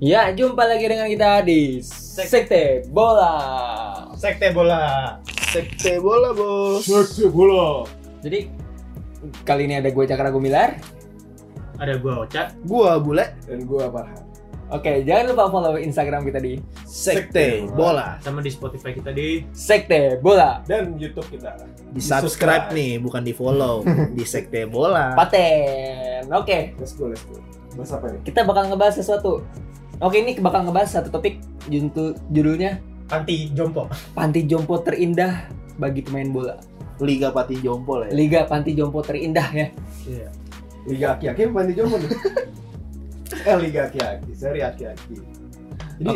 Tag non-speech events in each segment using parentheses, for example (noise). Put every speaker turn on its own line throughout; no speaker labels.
Ya, jumpa lagi dengan kita di Sekte Bola.
Sekte bola.
Sekte bola bos.
bola.
Jadi kali ini ada gue Cakra Gumilar
Ada gua Ocat.
Gua bule.
dan gue Farhan. Oke, jangan lupa follow Instagram kita di
Sekte bola.
Sama di Spotify kita di
Sekte Bola.
dan YouTube kita.
Di subscribe nih, bukan di follow. Di sekte bola.
Paten. Oke,
Let's go, let's go. Bahas apa nih?
kita bakal ngebahas sesuatu. Oke, ini bakal ngebahas satu topik juntu- judulnya
Panti Jompo.
Panti Jompo terindah bagi pemain bola.
Liga Pati Jompo lah ya.
Liga Panti Jompo terindah ya.
Iya.
Liga aki-aki bukan di Jomblo nih. eh, Liga aki-aki, seri aki-aki. Jadi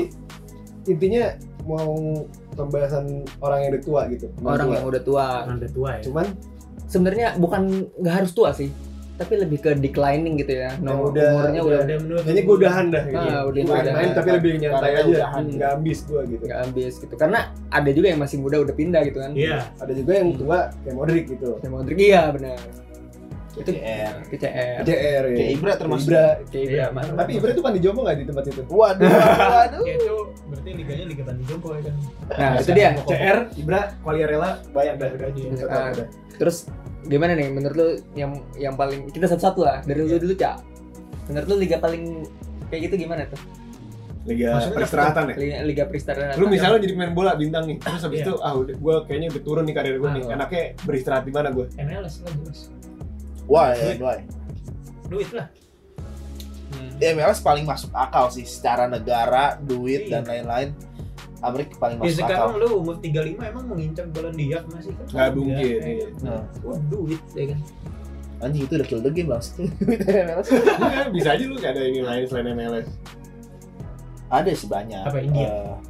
intinya mau pembahasan orang yang udah tua gitu. Orang
Orang
tua.
yang udah tua.
Orang udah tua ya.
Cuman
Sebenarnya bukan nggak harus tua sih, tapi lebih ke declining gitu ya. Nomor
udah-
umurnya udah
Ada menurut.
kayaknya gue udahan dah gitu.
Ah, udah
Gua
udahan.
main tapi lebih nyantai
Karena
aja.
udahan.
Nggak habis gue gitu.
nggak habis gitu karena ada juga yang masih muda udah pindah gitu kan
Iya.
Ada juga yang tua kayak Modric gitu.
Kayak Modric iya benar itu
CR.
ke CR
CR ya.
Kayak Ibra termasuk.
Ibra.
ke Ibra
Iya.
Mas.
Tapi Ibra itu kan di Jomblo nggak di tempat itu?
Waduh,
(laughs)
waduh.
Ya itu berarti liganya Liga Panti Jompo ya kan.
nah itu dia
CR, Ibra, Qualiarella, banyak dah.
Udah aja ya.
Tetap
Ah.
ada.
terus gimana nih menurut lu yang yang paling kita satu-satu lah dari
Iya.
lu dulu cak menurut lu liga paling kayak gitu gimana tuh
Liga
Maksudnya
peristirahatan ya?
liga, liga Pristara
lu misalnya jadi pemain bola bintang nih terus
Iya.
habis itu ah udah gue kayaknya udah turun nih karir gue nih
Ah.
enaknya beristirahat di mana gue
MLS lah jelas.
Wah, ya, wah.
Duit lah.
Hmm.
Di MLS paling masuk akal sih secara negara, duit dan lain-lain. Amerika paling
Ya
masuk akal.
sekarang lu umur 35 emang mau ngincar balon diak masih kan?
Nggak mungkin,
Ya,
iya.
kan? Wah, duit ya kan.
Nah, Anjing itu udah kill the game langsung. MLS.
Iya, bisa aja lu gak ada yang lain selain MLS
(laughs) Ada sih banyak.
Apa, India?
Eh,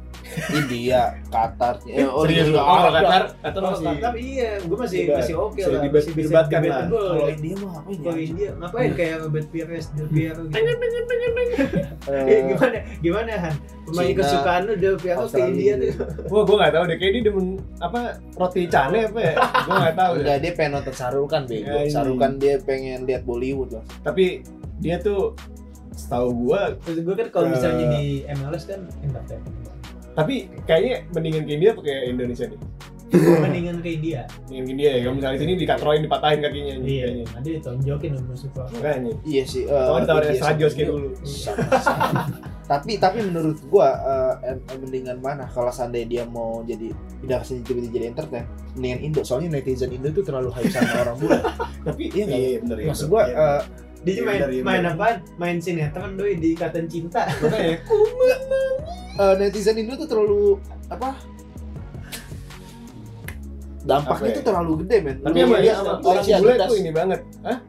India, Qatar, eh, oh,
Serius lu?
Liga
Oh,
Arab.
Qatar atau
Kalau
masih
startup iya, gue masih
Debat.
masih oke
Masih
lah.
debat-
Masih bisa
didebatkan lah.
debatable.
Kalau iya. India mah apa
Kalau
ini?
India ngapain kayak ngebet Pires, Del Piero gitu. Eh,
Eh,
(laughs) gimana gimana Han? Pemain
Cina,
kesukaan lu Del Piero ke
Australia.
India tuh.
wah gue gak tau deh kayaknya dia demen apa roti cane apa ya gue gak tau
(laughs)
deh
Enggak, dia pengen nonton Sarukan bego.
Ya, ini.
Sarukan dia pengen lihat Bollywood lah.
tapi dia tuh setahu gue
Terus gue kan kalau
Eh.
misalnya di MLS kan entertainment.
tapi kayaknya mendingan ke India pakai Indonesia nih
Mendingan ke India.
mendingan ke India ya kalau misalnya di sini dikatroin dipatahin kakinya
Iya,
kayaknya.
ada ditonjokin sama supporter.
makanya
Iya sih. eh,
kalau ditawarin
iya,
Estradios kayak
sama-
dulu
sama-sama. tapi tapi menurut gua eh, em- em- mendingan mana kalau seandainya dia mau jadi pindah ke sini tiba-tiba jadi entertain mendingan Indo soalnya netizen Indo itu terlalu hype
(laughs)
sama orang bule
tapi
Iya,
iya
nggak?
bener iya,
maksud
bener.
gua
Iya,
eh,
Dia
Iya,
main
benar, iya,
main
benar.
apaan? Main sinetron doi di Ikatan Cinta.
makanya
eh, netizen Indo tuh terlalu apa dampaknya
Apa ya?
itu terlalu gede men
Tapi
Lu
emang
lihat
ya, sama
Leci
orang bule
Agendas.
tuh ini banget.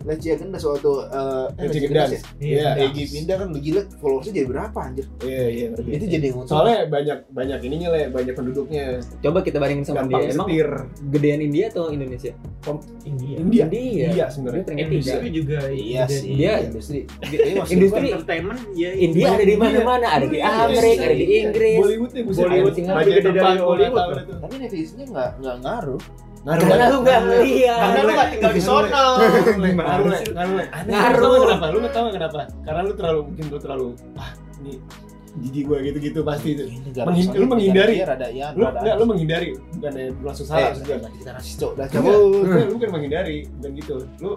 Leci Agendas waktu eh,
Leci
Leci
Agendas.
Agendas ya?
Iya,
benar.
Egy pindah kan lu gila followersnya jadi berapa anjir
Iya, iya.
itu jadi yang untung.
Soalnya banyak banyak ininya le, banyak penduduknya.
coba kita bandingin sama
Gampang iya.
dia emang
setir.
gedean India atau Indonesia
India.
India.
India,
Iya
Dia
sebenarnya.
peringkat tiga
Industri juga
Iya
juga
sih.
di-
dia
industri
Dia-
Iya, maksud
industri
entertainment ya
India ada di
India.
mana-mana ada di
Iya,
Amerika ada di
iya.
Inggris
Bollywood ya, buset.
Bollywood
Anjing,
kan
banyak
lebih gede
tempat
dari
gua
Hollywood
nggak tahu
loh.
itu.
tapi netizennya nggak nggak ngaruh
Ngaruh.
karena lu nggak Iya. lihat
Karena lu gak tinggal di
Ngaruh, Le.
sono.
Le, Ngaruh, Le.
Ngaruh.
Ngaruh, Le. Aneh,
Ngaruh.
lu tau nggak Kenapa? Lu nggak tahu nggak kenapa? Karena lu terlalu mungkin lu terlalu ah ini jijik gua gitu-gitu pasti itu.
Ini negara
Menghin-
soalnya
lu menghindari.
negara dia rada ya
Lu
rada-
enggak lu menghindari bukan lu langsung
eh
salah maksud gua.
kita rasis cok dah
Enggak,
cabut
enggak, lu bukan menghindari, bukan gitu. Lu,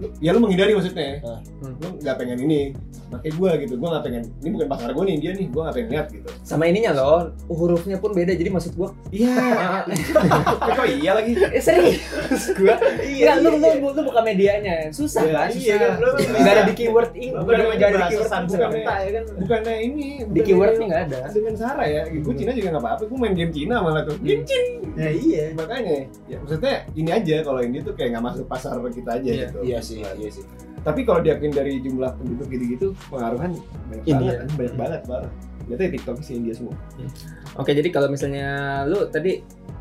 lu ya lu menghindari maksudnya.
Ah.
Hmm.
Lu nggak pengen ini, makanya gue gitu, gue nggak pengen. Ini bukan pasar gue nih, dia nih, gue nggak pengen lihat gitu.
sama ininya loh hurufnya pun beda jadi maksud gua
Iya. Kok iya lagi?
eh, serius gua iya lu lu lu, lu buka medianya susah
Iya,
kan
Iya kan lu kan
nggak ada di keyword ing
Bapak
nggak ada
namanya
di
bahasa
keyword
San
bukan,
Serentak ya kan.
Bukannya ini, bukan
di keywordnya nggak ada
Dengan Sarah ya, gue Cina juga nggak apa-apa, gue main game Cina malah tuh. Game Cina.
Ya iya.
Makanya, ya maksudnya ini aja kalau ini tuh kayak nggak masuk pasar kita aja
Iya.
gitu.
iya sih iya sih
Tapi kalau diakuin dari jumlah penduduk gitu-gitu, pengaruhan banyak
India.
banget, banyak banget banget. Lihatnya TikTok sih India semua.
oke jadi kalau misalnya lu tadi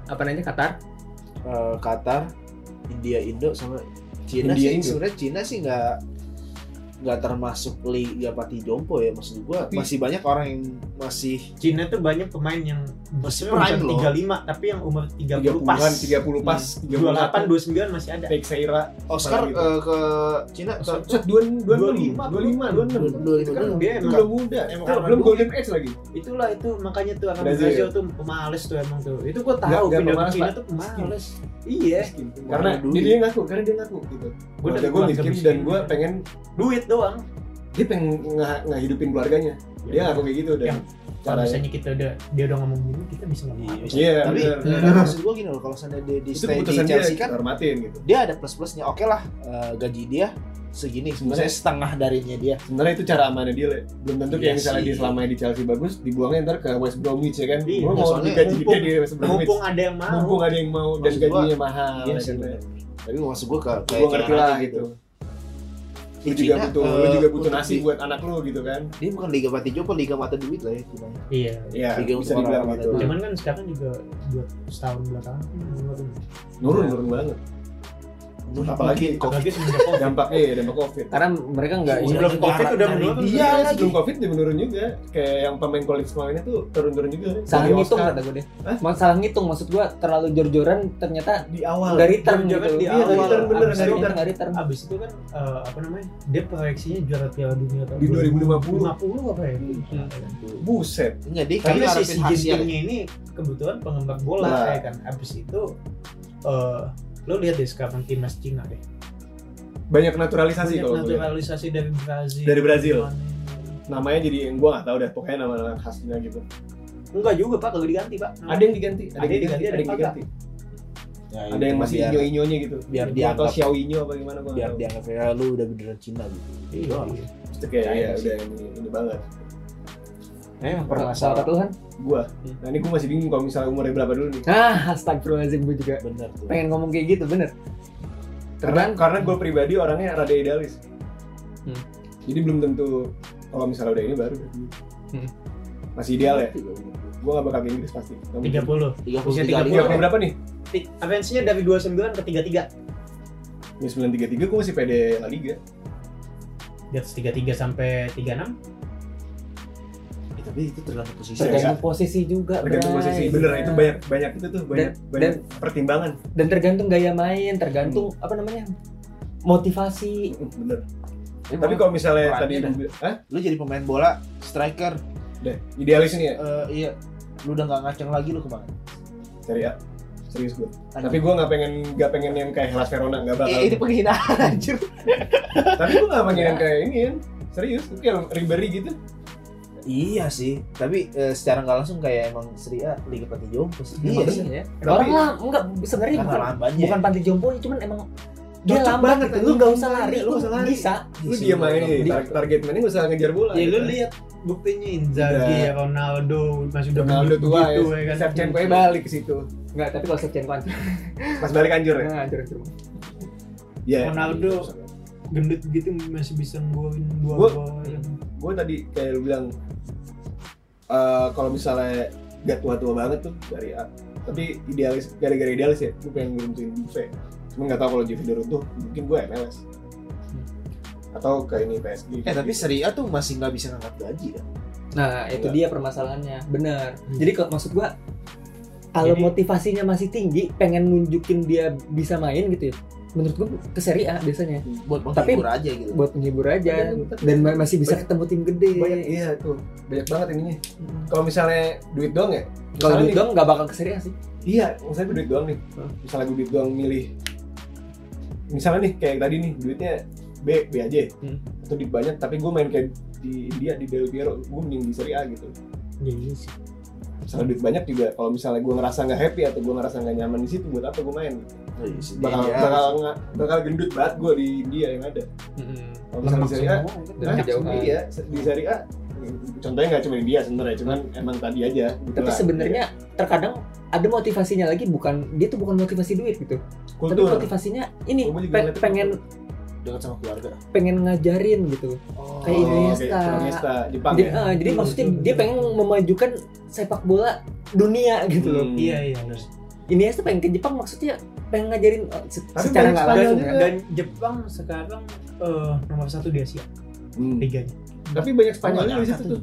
apa namanya Qatar
Eh, Qatar India Indo sama Cina sih
India, Indo.
sebenarnya Cina sih nggak nggak termasuk liga pati jompo ya maksud gua masih banyak orang yang masih
Cina tuh banyak pemain yang
Masih
sebenarnya
prime loh.
bukan 35 tapi yang umur 30 pas.
30-an, 30 pas,
28 29 masih ada.
31. Baik Saira.
Oscar
Gitu.
eh, ke Cina ke
Oscar.
Set 25,
25,
25, 26.
dua
Itu kan
Dia
itu
emang
udah muda, emang
Kan
karena
belum
belum golden age lagi.
itulah itu makanya tuh orang
Brazil.
Brazil tuh pemalas tuh emang tuh. Itu gua
Nggak-
tahu
nggak
pindah
pemalas,
ke Cina
Pak.
tuh pemalas. Iya,
Karena
Karena duit.
dia, dia ngaku, karena dia ngaku gitu.
Gua
Gue
dari
gue
keluarga
miskin
miskin.
dan gue pengen
duit doang.
dia pengen nge- ngehidupin keluarganya.
Ya.
Dia ngaku kayak gitu dan
Yang Kalau
caranya.
misalnya kita udah dia udah ngomong gini, kita bisa ngomong apa?
Iya,
tapi
bener.
eh, maksud gua gini loh kalau seandainya dia di
itu
stay di
keputusan dia
Chelsea
kita
kan
hormatin gitu.
dia ada plus plusnya oke lah eh, gaji dia segini sebenarnya setengah darinya dia
Sebenarnya itu cara amannya dia. Le. Belum tentu
Iya
kayak misalnya
sih.
dia selama di Chelsea bagus, dibuangnya ntar ke West Bromwich ya kan.
Iya,
Gua mau
soalnya
digaji dia
mumpung-
di West Bromwich.
Mumpung ada yang mau.
Mumpung ada yang mau dan
Maksud gua,
gajinya mahal.
Iya
ya
sih,
kan, Le.
bener. Iya, tapi maksud gua ke kayak
Gua ngerti
Cina
lah
aja
gitu.
Di
Lu juga
Cina,
butuh,
eh,
lu juga butuh
untuk
nasi
di-
buat anak lu gitu kan.
dia bukan liga mati jompo liga mata duit lah ya istilahnya.
Iya.
Iya,
Liga
bisa
untuk
dibilang
orang-orang
gitu.
Cuman kan sekarang juga buat setahun belakangan kan menurun.
Nurun, nurun banget. Apalagi COVID.
Apalagi semenjak COVID.
Dampaknya ya, dampak COVID.
karena mereka nggak
Iya.
Sebelum COVID udah
dari
menurun.
dia
Iya,
lagi.
sebelum covid dia menurun juga. Kayak yang pemain college kemarin itu turun-turun juga. kan.
salah
Dari
ngitung
Iya, Oscar.
kata gue deh
Hah?
Mas- salah ngitung maksud gua terlalu jor-joran ternyata
di awal.
nggak return
jor-joran
gitu
di
Iya,
awal.
nggak return,
Bener,
Abis
nggak
itu
return.
nggak return
Abis itu kan eh, apa namanya? Dia proyeksinya juara Piala Dunia tahun
Di 2050.
2050 apa ya?
Buset.
enggak dia kayaknya
Karena si
harapin
si
hasil
Jinpingnya ini kebetulan pengembang bola
Nah.
ya kan. Abis itu eh, lo lihat deh sekarang timnas Cina deh.
Banyak
Banyak
naturalisasi kalau gue lihat.
naturalisasi dari Brazil.
Dari Brazil.
Mana-
Namanya jadi yang gue gak tau dah. Pokoknya nama nama khasnya gitu.
Enggak juga pak, kalau diganti pak.
Ada yang diganti, ada
Ada
yang
yang
diganti, ada yang
diganti,
diganti.
Ya,
Ada yang
itu
masih
biar-
inyo-inyonya gitu.
biar
atau
dianggap
Xiao Inyo apa gimana gue
biar dianggap ya lu udah beneran Cina gitu
Iya.
Itu kayak
Cina
ya
sih.
udah ini, ini banget. Nah,
emang
salah
permasalahan
satu kan
Gue. Nah ini gue masih bingung kalau misalnya umurnya berapa dulu nih.
ah astagfirullahaladzim gue juga
bener tuh
pengen ngomong kayak gitu bener
Karena, karena gue pribadi orangnya rada idealis.
Hmm.
Jadi belum tentu kalau misalnya udah ini baru.
Hmm.
Masih ideal ya. Gue gak bakal ke Inggris pasti. Nggak mungkin.
Tiga puluh.
tiga
Usia
tiga
30.
Tiga puluh berapa nih?
Avensinya dari dua sembilan ke tiga tiga.
Ya 933 gue masih pede La Liga.
Dari tiga tiga sampai tiga enam.
tapi itu tergantung posisi
Tergantung.
tergantung posisi juga
Tergantung
Bray.
posisi. Bener itu banyak banyak itu tuh banyak banyak pertimbangan.
dan tergantung gaya main tergantung
Hmm.
apa namanya motivasi
Bener. Tapi kalau misalnya
perannya
tadi
dah.
lu- Hah?
lu jadi pemain bola striker
Udah, idealis nih ya.
eh, iya lu udah nggak ngaceng lagi lu kemana
Seri A. Serius gue. Tapi gue gak pengen gak pengen yang kayak Hellas Verona gak bakal.
Eh, ini penghinaan anjir
Tapi gue gak pengen yang kayak ini kan. Serius, Itu kayak Ribery gitu.
iya sih tapi eh, secara nggak langsung kayak emang Sri A Liga Pati Jompo sih
Iya
sih
ya.
Tapi-
orang lah enggak sebenarnya
karena
bukan
lambannya
bukan panti jompo cuman emang dia
Cocok
lambat
banget,
gitu
lu
lu nggak usah
nggak
lari
lari, lu
lu
nggak usah lari.
bisa
Lu diam aja nih,
Di-
tar- target mana gak usah ngejar bola.
Ya lu
gitu.
lihat buktinya Inzaghi, ya, Ronaldo masih udah
Iya. Ronaldo tua ya.
begitu, kan.
Shevchenko nya balik ke situ.
enggak tapi kalau Shevchenko
Iya.
hancur
Pas balik anjur ya.
Nah, hancur hancur
Iya.
Ronaldo. Gendut gitu masih bisa ngeluarin dua
Gua-
gol. ya kan.
gue tadi kayak lu bilang eh, kalau misalnya gak tua-tua banget tuh dari A tapi idealis gara-gara idealis ya gue pengen ngeruntuhin Juve cuma nggak tahu kalau Juve udah runtuh mungkin gue MLS atau kayak ini PSG
eh tapi Sri A tuh masih nggak bisa ngangkat gaji kan
nah itu
Enggak.
dia permasalahannya bener
Hmm.
jadi kalau maksud gua kalau
Jadi-
motivasinya masih tinggi pengen nunjukin dia bisa main gitu ya menurut gua ke seri A biasanya
buat
Tapi-
menghibur aja gitu
buat menghibur aja
Tapi- tapi-
dan ma- masih bisa
Iya, banyak-
ketemu tim gede
banyak Hmm. iya tuh banyak banget ininya kalau misalnya duit doang ya
kalau
misalnya
duit
nih-
doang nggak bakal ke seri A sih
iya misalnya gue duit doang nih
Hmm.
misalnya gue duit doang milih misalnya nih kayak tadi nih duitnya B B aja
Hmm.
atau duit banyak tapi gue main kayak di India di Del Piero gue mending di Serie A gitu
Ya, iya sih.
misalnya duit banyak juga kalau misalnya gue ngerasa nggak happy atau gue ngerasa nggak nyaman di situ buat apa gue main
Oh, iya sih,
bakal
dia-
bakal nggak- bakal gendut banget gue di India yang ada kalau misalnya
Lemak
di Serie A
semua, ya kan.
Dan
nah,
kejauhan.
Hmm. iya di Serie A contohnya nggak cuma India sebenarnya cuman emang tadi aja gitu
tapi
lah.
sebenarnya terkadang ada motivasinya lagi bukan dia tuh bukan motivasi duit gitu tapi
kultur
motivasinya ini
Gua juga
pe-
ngeliatnya
pengen
dekat sama keluarga
pengen ngajarin gitu
Oh,
kayak Iniesta.
kayak Iniesta, Jepang
jadi,
ya
eh, jadi
Hmm,
maksudnya
betul,
dia
betul.
pengen memajukan sepak bola dunia gitu loh
Hmm.
Iya iya. iya.
ini aja pengen ke Jepang maksudnya pengen ngajarin eh, se-
Tapi
secara
banyak
nggak
Spanyol
langsung
juga.
ya
Dan Jepang sekarang eh, nomor satu di Asia.
Hmm.
liganya.
Tapi banyak Spanyolnya
Gua
di
nggak
situ tuh.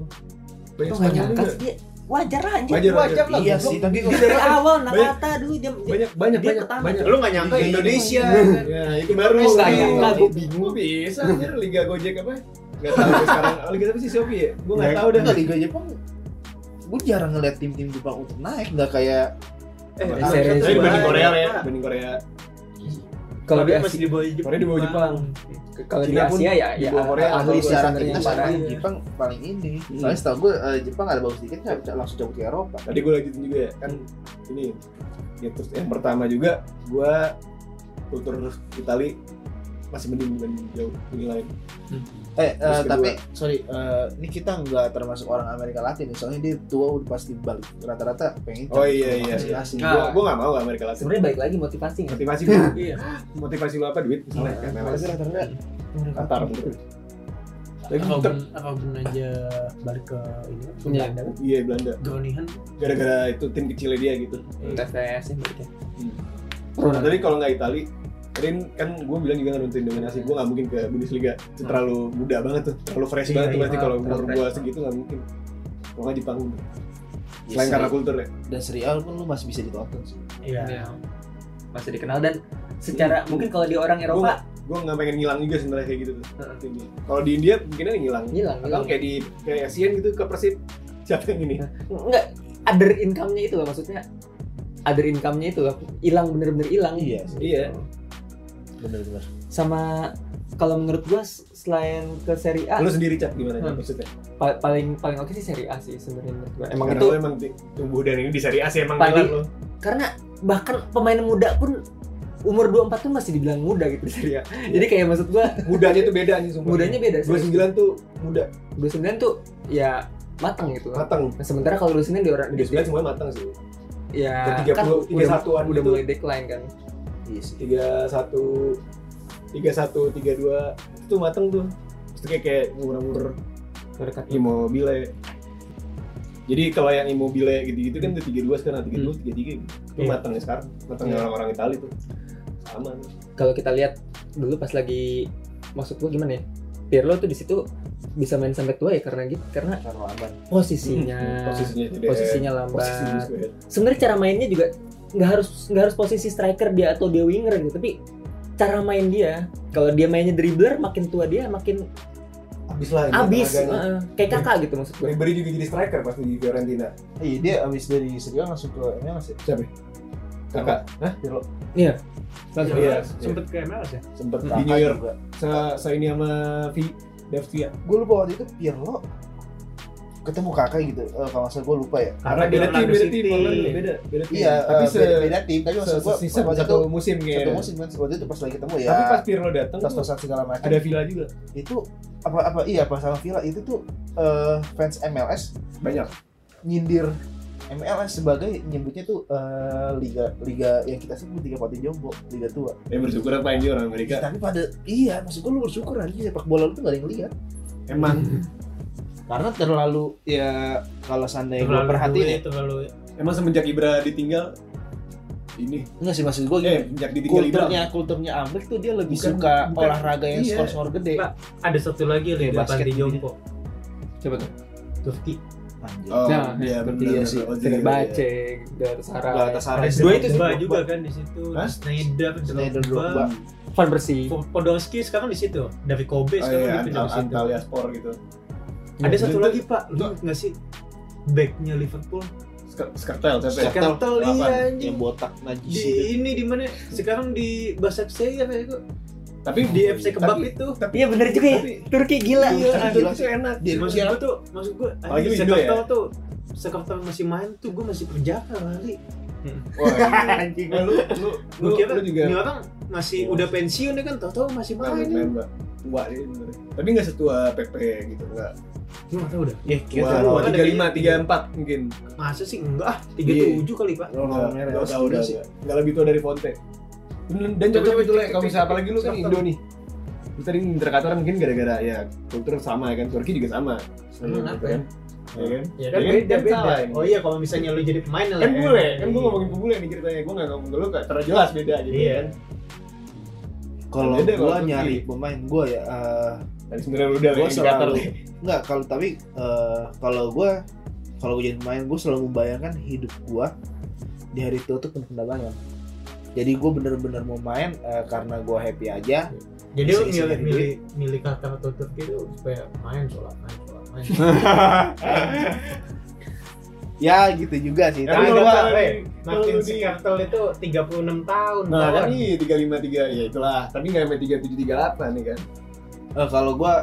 Banyak
Kok nggak nyangka
juga.
sih dia? Wajar lah anjir.
Wajar, wajar.
lah, iya
goblok.
sih tapi
Dia dari awal
Banyak.
Nakata dulu dia dia-
Banyak banyak
Dia
banyak
pertama.
banyak.
Lu nggak nyangka
Liga
Indonesia.
Ya, itu baru.
Terus nggak
Iya.
nyangka,
Gua
gitu.
bingung. Gua bisa anjir Liga Gojek apa? Gak tahu gua sekarang. Oh, Liga apa sih Shopee ya? Gua gak tahu dah.
Enggak, Liga Jepang gue jarang ngeliat tim-tim Jepang untuk naik nggak kayak
Eh,
Tapi serius.
Tapi dibanding
Bahaya.
Korea lah ya, dibanding Korea.
Kalau di
dia
Asia,
masih di bawah Jepang.
Korea di bawah Jepang.
kalau di
Cina pun
Asia ya
di
ya
bawah Korea
ahli
atau
sih
secara
sebenarnya
kita
gimana.
paling Jepang paling ini
Hmm.
soalnya setahu gue eh, Jepang ada bagus dikit nggak nggak langsung jauh ke Eropa
Tadi gue lanjutin juga ya, kan ini ya terus yang pertama juga gue kultur Itali masih mending dibanding jauh ini lain.
eh eh,
Terus kedua.
tapi sorry eh, ini kita nggak termasuk orang Amerika Latin nih, soalnya dia tua udah pasti balik rata-rata pengen
Oh iya iya.
asing
iya.
asing
Gua gue gak mau Amerika Latin.
Sebenarnya balik lagi motivasi nggak?
Motivasi gue,
Iya.
motivasi lu apa duit misalnya kan memang
rata-rata Iya,
Qatar.
apa
Tapi ter-
gun apa gunanya balik ke ini kan, ke
Iya.
Belanda kan
iya Belanda.
Groningen
Gara-gara itu tim kecilnya dia gitu.
TVS sih berarti.
Nah, tadi kalau nggak Itali, Rin kan gue bilang juga nonton dominasi, gue nggak mungkin ke Bundesliga Itu terlalu muda banget tuh, terlalu
Iya,
fresh banget tuh
iya.
pasti kalau umur
Terlalu
gue
fresh.
segitu nggak mungkin. Kalau nggak Jepang, gitu. selain karena kultur ya.
dan serial pun lu masih bisa ditonton sih
iya
Iya. Hmm. Masih dikenal dan secara mungkin kalau di orang Eropa
Gue nggak pengen ngilang juga sebenarnya kayak gitu tuh.
Heeh.
Ini. Kalau di India mungkin aja ngilang.
hilang
Atau
hilang.
kayak di kayak Asian gitu ke Persib siapa yang ini?
Enggak, other income-nya itu loh maksudnya. Other income-nya itu loh, hilang bener-bener hilang.
iya sih
Iya.
bener-bener
Sama kalau menurut gua selain ke seri A
Lu sendiri cap gimana
Hmm.
maksudnya?
pa- paling paling oke sih seri A sih sebenarnya menurut gua. Emang
Karena
itu
lu emang ti- tumbuh dan ini di Serie A sih emang
Tadi-
ngilang lu.
karena bahkan pemain muda pun umur 24 pun masih dibilang muda gitu (laughs) di seri A. Jadi kayak maksud gua
Iya. Mudanya tuh beda nih sumpah.
mudanya beda sih.
29 tuh muda,
29 tuh ya matang gitu. Nah,
matang.
sementara kalau 29 di orang di
29 semua kan matang sih.
ya
ke 30,
kan udah,
31-an
udah
gitu.
mulai decline kan.
iya sih
tiga satu tiga satu tiga dua itu tuh mateng tuh Terus tuh kayak kayak ngurang-ngurang
Mereka
immobile jadi kalau yang immobile gitu-gitu kan udah tiga dua sekarang tiga dua tiga tiga itu
Iya.
matangnya sekarang
Hmm.
matangnya
Iya.
orang-orang Itali tuh sama tuh.
kalau kita lihat dulu pas lagi maksud gua gimana ya Pirlo tuh di situ bisa main sampai tua ya karena gitu karena
karena aman
Hmm,
posisinya
(laughs) posisinya tidak
posisinya
posisi ya.
lambat
juga.
sebenarnya cara mainnya juga nggak harus nggak harus posisi striker dia atau dia winger gitu tapi cara main dia kalau dia mainnya dribbler makin tua dia makin
abis lah ini
abis
tenaganya.
Heeh. kayak kakak gitu maksud gue
Ribery juga jadi striker pasti di Fiorentina
iya dia abis dari serial langsung ke MLS ya
siapa ya? kakak Hah?
Langsung.
Iya.
Sempet ke MLS ya?
sempet
Hmm.
di New York
juga
se, se ini sama ya? V Devia
gue lupa waktu itu Pirlo ketemu kakak gitu eh, kalau nggak salah gue lupa ya
karena
Karena di
beda tim
Orlando
beda
City.
tim Orlando beda beda tim
iya
tapi
eh,
se
beda, beda tim tapi maksud gue
sisa
waktu itu
satu musim
satu
kayaknya
musim kan waktu itu pas lagi ketemu ya
Tapi pas Pirlo datang tuh
tos-tosan segala macam
ada Villa juga.
itu apa apa iya pas sama Villa itu tuh eh, fans MLS
Banyak.
nyindir MLS sebagai nyebutnya tuh eh, liga liga yang kita sebut liga pati jombo liga tua
Ya bersyukur apa aja orang Amerika.
Ih, tapi pada iya maksud gue lu bersyukur aja sepak bola lu tuh gak ada yang lihat
Emang
karena terlalu ya kalau seandainya gue
Terlalu
perhatiin ya
duit, terlalu
emang semenjak Ibra ditinggal ini
enggak sih maksud gue
eh semenjak ditinggal Ibra
kulturnya kulturnya Amrik tuh dia lebih
Bukan-
suka
bukan.
olahraga yang
Iya.
skor-skor gede
Pak. ada satu lagi Liga
basket
Panti
gitu.
Jompo
coba tuh
Turki
Anjir.
Oh,
Nah,
iya benar.
iya sih.
Oh,
Fener
iya,
Bace Galatasaray
Galatasaray.
dua itu sih
Drogba juga kan di situ
Hah?
Snyder
Snyder, Drogba.
Oh,
Drogba
iya,
Van Persie
Podolski sekarang di situ David Kobe
iya. Oh, iya,
sekarang gitu, di
Antal-
di situ
Antalya Spor gitu.
ada
Iya,
satu
itu-
lagi pak lu nggak sih backnya Liverpool
Sk- Skartel siapa ya?
Skartel.
Skrtel
Lapan.
iya anjing
yang botak najis itu
Iya.
di ini di mana sekarang di Basaksehir ya itu
Tapi
di FC kebab
Iya, tapi-
itu
Tapi
iya bener juga ya
tapi-
Turki gila
Iya,
Tapi
anjing,
jelas.
itu enak
Dia
maksud
kira-
gua tuh maksud gua
Apalagi
anjing
lu Indo ya?
Skrtel tuh Skrtel masih main tuh gua masih perjaka kali
Wah, ini-
(laughs)
anjing
eh, lu lu Hmm. lu,
Gua kira
lu juga
ini orang masih
Iya.
udah pensiun ya kan tau-tau masih
main
main
main mbak tua dia sebenarnya. Tapi nggak setua PP gitu enggak.
Lu nggak tau udah
ya
Tua,
kira
tua
ada
35,
kayak-
34 mungkin.
Masa sih enggak ah,
Iya.
37 kali pak
Enggak,
ngomong merah.
enggak tahu udah
Sih.
enggak. Enggak lebih tua dari Fonte. Dan dan coba-coba dulu ya, kalau misalnya apalagi lu kan Indo nih. Lu tadi ngincer kata orang mungkin gara-gara ya kultur sama ya kan, Turki juga sama.
Emang
Iya
apa
kan? Iya kan?
Ya
kan beda, beda.
Oh iya kalau misalnya lu jadi pemain lah
Kan
ya.
bule, kan gua ngomongin ke bule nih ceritanya. Gua enggak ngomong ke lu terjelas jelas beda gitu
Iya.
kan.
kalau
Beda kalau
gua
Turki.
nyari pemain gua ya eh,
Tadi sebenarnya udah
Gua
(laughs) indikator
selalu- Enggak, kalau tapi eh, kalau gua kalau gue jadi pemain gue selalu membayangkan hidup gua di hari tua tuh penuh kenangan. Jadi gue bener-bener mau main eh, karena gua happy aja.
Jadi lu
Isi-isi
milih
dari
milih milih kata tutup gitu supaya main sholat main sholat main.
Nah,
(laughs)
Ya gitu juga sih.
Tapi
Tapi
kalau
gua
kata-
Tapi-
Martin
Kalau di-
Skrtel itu 36 tahun.
Nah,
kawan.
kan ini 353 ya itulah. Tapi nggak sampai 3738 nih kan.
eh, kalau gua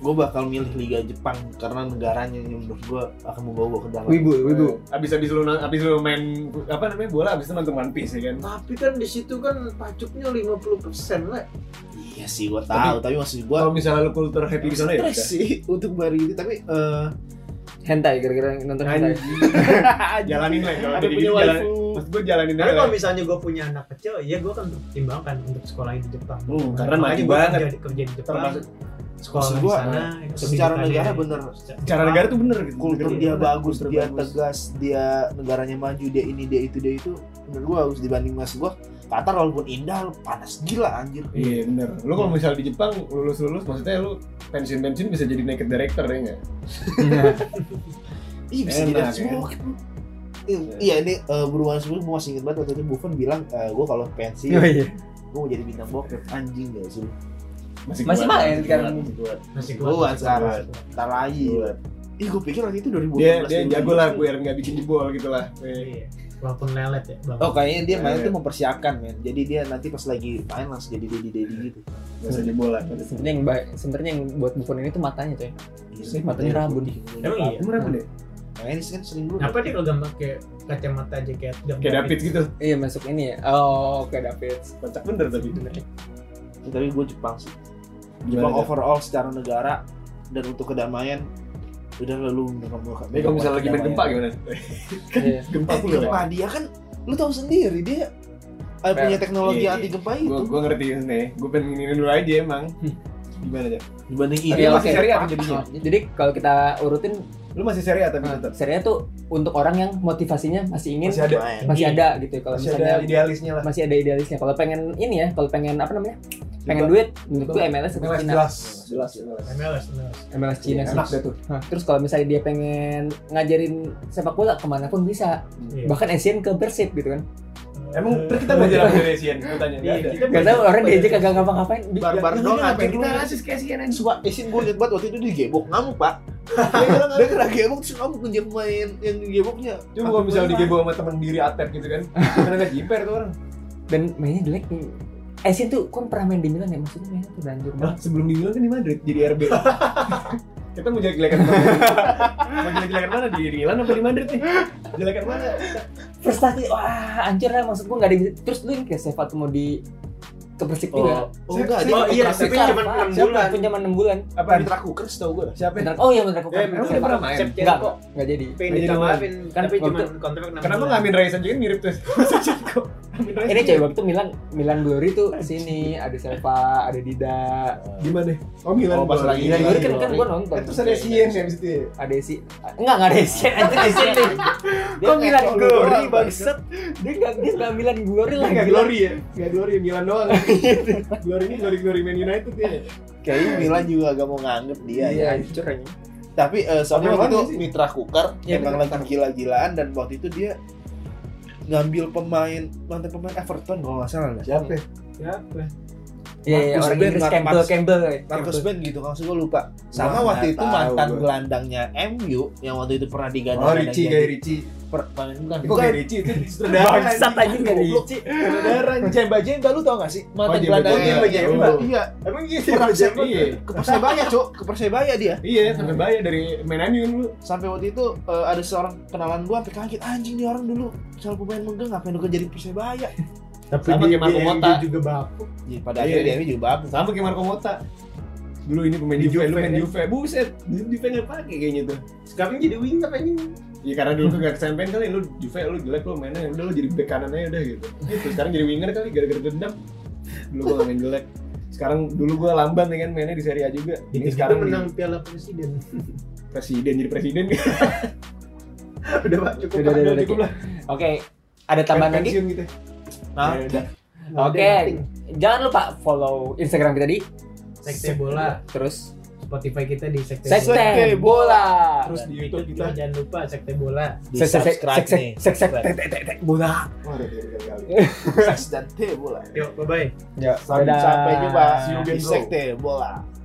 gue bakal milih Liga Jepang karena negaranya yang menurut gue akan membawa gua ke dalam.
Wibu, wibu.
Abis-abis lu abis lu main apa namanya bola abis itu nonton One Piece ya kan.
Tapi kan di situ kan pacuknya 50% lah.
Iya sih gue tahu, tapi, maksud gue
Kalau misalnya lu kultur happy di sana ya.
stres
udah.
sih (laughs) untuk baru ini tapi
(laughs)
eh,
hentai gara-gara nonton
Nah,
hentai
(laughs)
Jalanin lah kalau
ada
jadi
punya
gitu jalan.
waifu.
Maksud gua jalanin
Karena Nah, kalau
aja.
misalnya gue punya anak kecil, ya gue akan pertimbangkan untuk sekolahin di Jepang.
Hmm, karena
Makanya
maju
gua
banget.
Kerja, kerja di Jepang,
Termasuk eh,
sekolah
maksud
di
gua,
sana. ya,
secara
pendidikannya
negara
ya.
bener.
Cara negara tuh bener gitu.
kultur
Negara
dia
bener.
bagus,
Kultur
dia
bagus.
tegas, dia negaranya maju, dia ini, dia itu, dia itu. Menurut gua harus dibanding mas gua Qatar walaupun indah, panas gila anjir.
Iya bener. Lu kalau misalnya di Jepang lulus lulus, maksudnya lu pensiun pensiun bisa jadi naked director ya nggak?
Ih, bisa
Enak,
jadi
ya.
smoke. Iya ini eh, berhubungan sebelum gua masih inget banget waktu itu Buffon bilang eh, gua kalau pensi
Oh iya.
gua mau jadi bintang bokep anjing ya, gak sih.
Masih
kuat,
main sekarang.
masih kuat.
Masih
Gua
kuat, masih
sekarang.
kuat.
Ntar lagi. Ih gua pikir waktu itu 2018.
Dia dia jago lah
2019.
biar nggak bikin jebol gitu lah. Eh,
Iya. Walaupun lelet ya. Bang.
Oh kayaknya dia main
Eh.
tuh mempersiapkan men. Jadi dia nanti pas lagi main langsung jadi dedi dedi gitu.
Nggak usah jebol lah.
sebenarnya yang baik sebenarnya yang buat bukan ini tuh matanya coy
Iya.
Sih, matanya rabun.
Emang iya?
Emang kenapa deh?
Makanya dia kan sering dulu.
Kenapa dia kagak pakai kacamata aja kayak Adam
Kayak David gitu,
iya masuk ini ya oh oke David ya.
kocak bener tapi.
Tapi gue Jepang sih.
Gimana,
Jepang
Jep?
overall secara negara dan untuk kedamaian udah lalu dengan melakukan.
Tapi kalau misalnya lagi main gempa gimana?
iya
(laughs) Gempa
Eh,
pula ya?
gempa dia kan lu tahu sendiri dia eh, punya teknologi
Iya, iya.
anti gempa
Gue
itu
gue ngerti nih, gue pengen nginin dulu aja emang. Gimana ya?
dibanding
Tapi
ini
Iya,
lu
oke.
masih syariah kan jadinya?
jadi kalau kita urutin
Lu masih syariah tapi tetap.
serinya tuh untuk orang yang motivasinya masih ingin
Masih ada,
main.
masih ada gitu ya kalau
masih ada
misalnya
idealisnya lah.
masih ada idealisnya kalau pengen ini ya kalau pengen apa namanya pengen duit menurut gue MLS itu
Jelas,
Cina
jelas, jelas, jelas.
MLS, MLS.
MLS Cina sih
Enak deh tuh.
Hah, terus kalau misalnya dia pengen ngajarin sepak bola kemanapun bisa
Iya. Eh,
bahkan Asian ke Persib gitu kan
Emang terus kita belajar apa dari Asian? Gue tanya,
Iya,
nggak ada.
kita
gak
belajar
tau orang
apa
dia
ya?
aja kagak ngapa-ngapain Bi-
barbar
Ya,
dong
ngapain
anjir
kita
lu
rasis kayak Asian aja.
Suka Esin gue liat banget waktu itu dia gebok ngamuk pak Dia kena gebok terus ngamuk ngejar main yang geboknya
Cuma kalau misalnya digebo sama temen diri atlet gitu (laughs) kan, karena nggak jiper tuh orang.
dan mainnya jelek Asian tuh kan pernah main di Milan ya maksudnya mainnya tuh udah hancur
Nah,
banget
sebelum di Milan kan di Madrid jadi RB. (laughs) kita mau jelek-jelekan mana? mau jelek-jelekan mana di Milan apa di Madrid nih? Jelekan mana?
prestasi wah hancur lah maksud gue gak ada yang bisa- terus lu yang kayak Sefa tuh mau di ke Persib
Oh,
juga
oh enggak, dia
Oh iya,
kontrak
tapi
besar.
cuma enam
Siapa?
bulan.
Cuma 6 bulan
Apa?
Mitra Kukers tau gue
Siapa?
Bentar, oh iya bentar aku
Eh, emang udah pernah main?
Enggak,
Shevchenko
enggak jadi
Iya, pengen
Jadi
ditawarin,
Kan
tapi cuma
waktu-
kontrak enam
Kenapa
bulan.
nggak Amin Rais aja kan mirip (laughs) tuh? Shevchenko. Amin Rais.
ini coy waktu itu Milan Milan Glory tuh sini ada Sefa ada Dida
Gimana? Oh Milan.
Oh, pas
Bali.
Iya,
Milan
lagi
Glory kan kan
Glory.
gue nonton
Eh, Terus ada Sien ya abis itu ya?
ada si enggak enggak ada (laughs) si anjir di sini dia Milan
ngeco lu
Glory
doang,
bangset dia enggak dia enggak Milan Glory lah Iya,
Nggak
gila
glory ya? Nggak glory, Milan doang. glory ini glory-glory Man United ya?
Kayaknya Milan juga agak mau nganggep dia
iya
ya
hancur aja
Tapi eh, soalnya
Apaan
waktu itu
sih?
Mitra Kukar
Iya,
emang
Mitra
lagi gila-gilaan dan waktu itu dia ngambil pemain mantan pemain Everton kalau nggak salah nggak?
Siapa? ya?
Siapa?
iya iya
Marcus
orang
Ben,
Inggris
Mark-
Campbell
Marcus-
Campbell ya.
Marcus Ben gitu kalau gue lupa sama
Wah,
waktu
nggak
itu
tahu
mantan
gua.
gelandangnya MU yang waktu itu pernah digadang
Oh Ricci, Guy Ricci.
bukan
Kok
bukan
Guy Ricci itu sutradara?
bangsat aja enggak (laughs) di
Goblok.
Sutradara.
Jemba Jemba lu tau gak sih mantan
Oh, Jemba
gelandangnya Jemba
Jemba.
Jemba
Oh.
iya
Emang iya sih?
pernah
Ricci?
Persebaya ke Persebaya cok ke Persebaya dia
Iya, sampai bayar dari Man MU dulu.
sampai waktu itu eh, ada seorang kenalan gua sampai kaget anjing nih orang dulu soal pemain menggang ngapain lu kerja di Persebaya
Tapi
Sama
dia,
kayak Marco
dia- dia
Motta.
juga bapuk.
Iya, pada
Iya.
akhirnya dia juga babu
Sama kayak Marco Motta. Dulu ini pemain
Di
Juve, lu
Juve,
main
ya?
Juve. Buset, di Juve nggak pakai kayaknya tuh.
Sekarang jadi winger aja.
Ya karena dulu tuh gak kesampean kali lu Juve lu jelek lu mainnya udah lu jadi bek kanan aja udah gitu. Gitu sekarang jadi winger kali gara-gara dendam. Dulu gua gak main jelek. Sekarang dulu gua lamban ya kan mainnya di Serie A juga.
Gitu
Ini sekarang
menang
menang
Piala Presiden.
presiden jadi (laughs) presiden.
Udah Pak, cukup.
Udah, udah, udah,
cukup lah.
oke ada tambahan lagi
Pensiun gitu.
nah
Ya udah.
oke jangan lupa follow Instagram kita di
Sekte bola.
Terus
Spotify kita di sekte
Sekte
bola.
bola.
Terus
Dan
di YouTube kita.
jangan lupa sekte bola.
Sek-
Di
sek- sek-
subscribe
sek-
nih.
sek- sek- tek- tek- tek- tek- bola.
Wah, ada kali-kali.
Seks dan teh bola.
Yuk, bye bye.
Sampai
Dadah.
sampai jumpa
See you again,
di
bro.
sekte bola.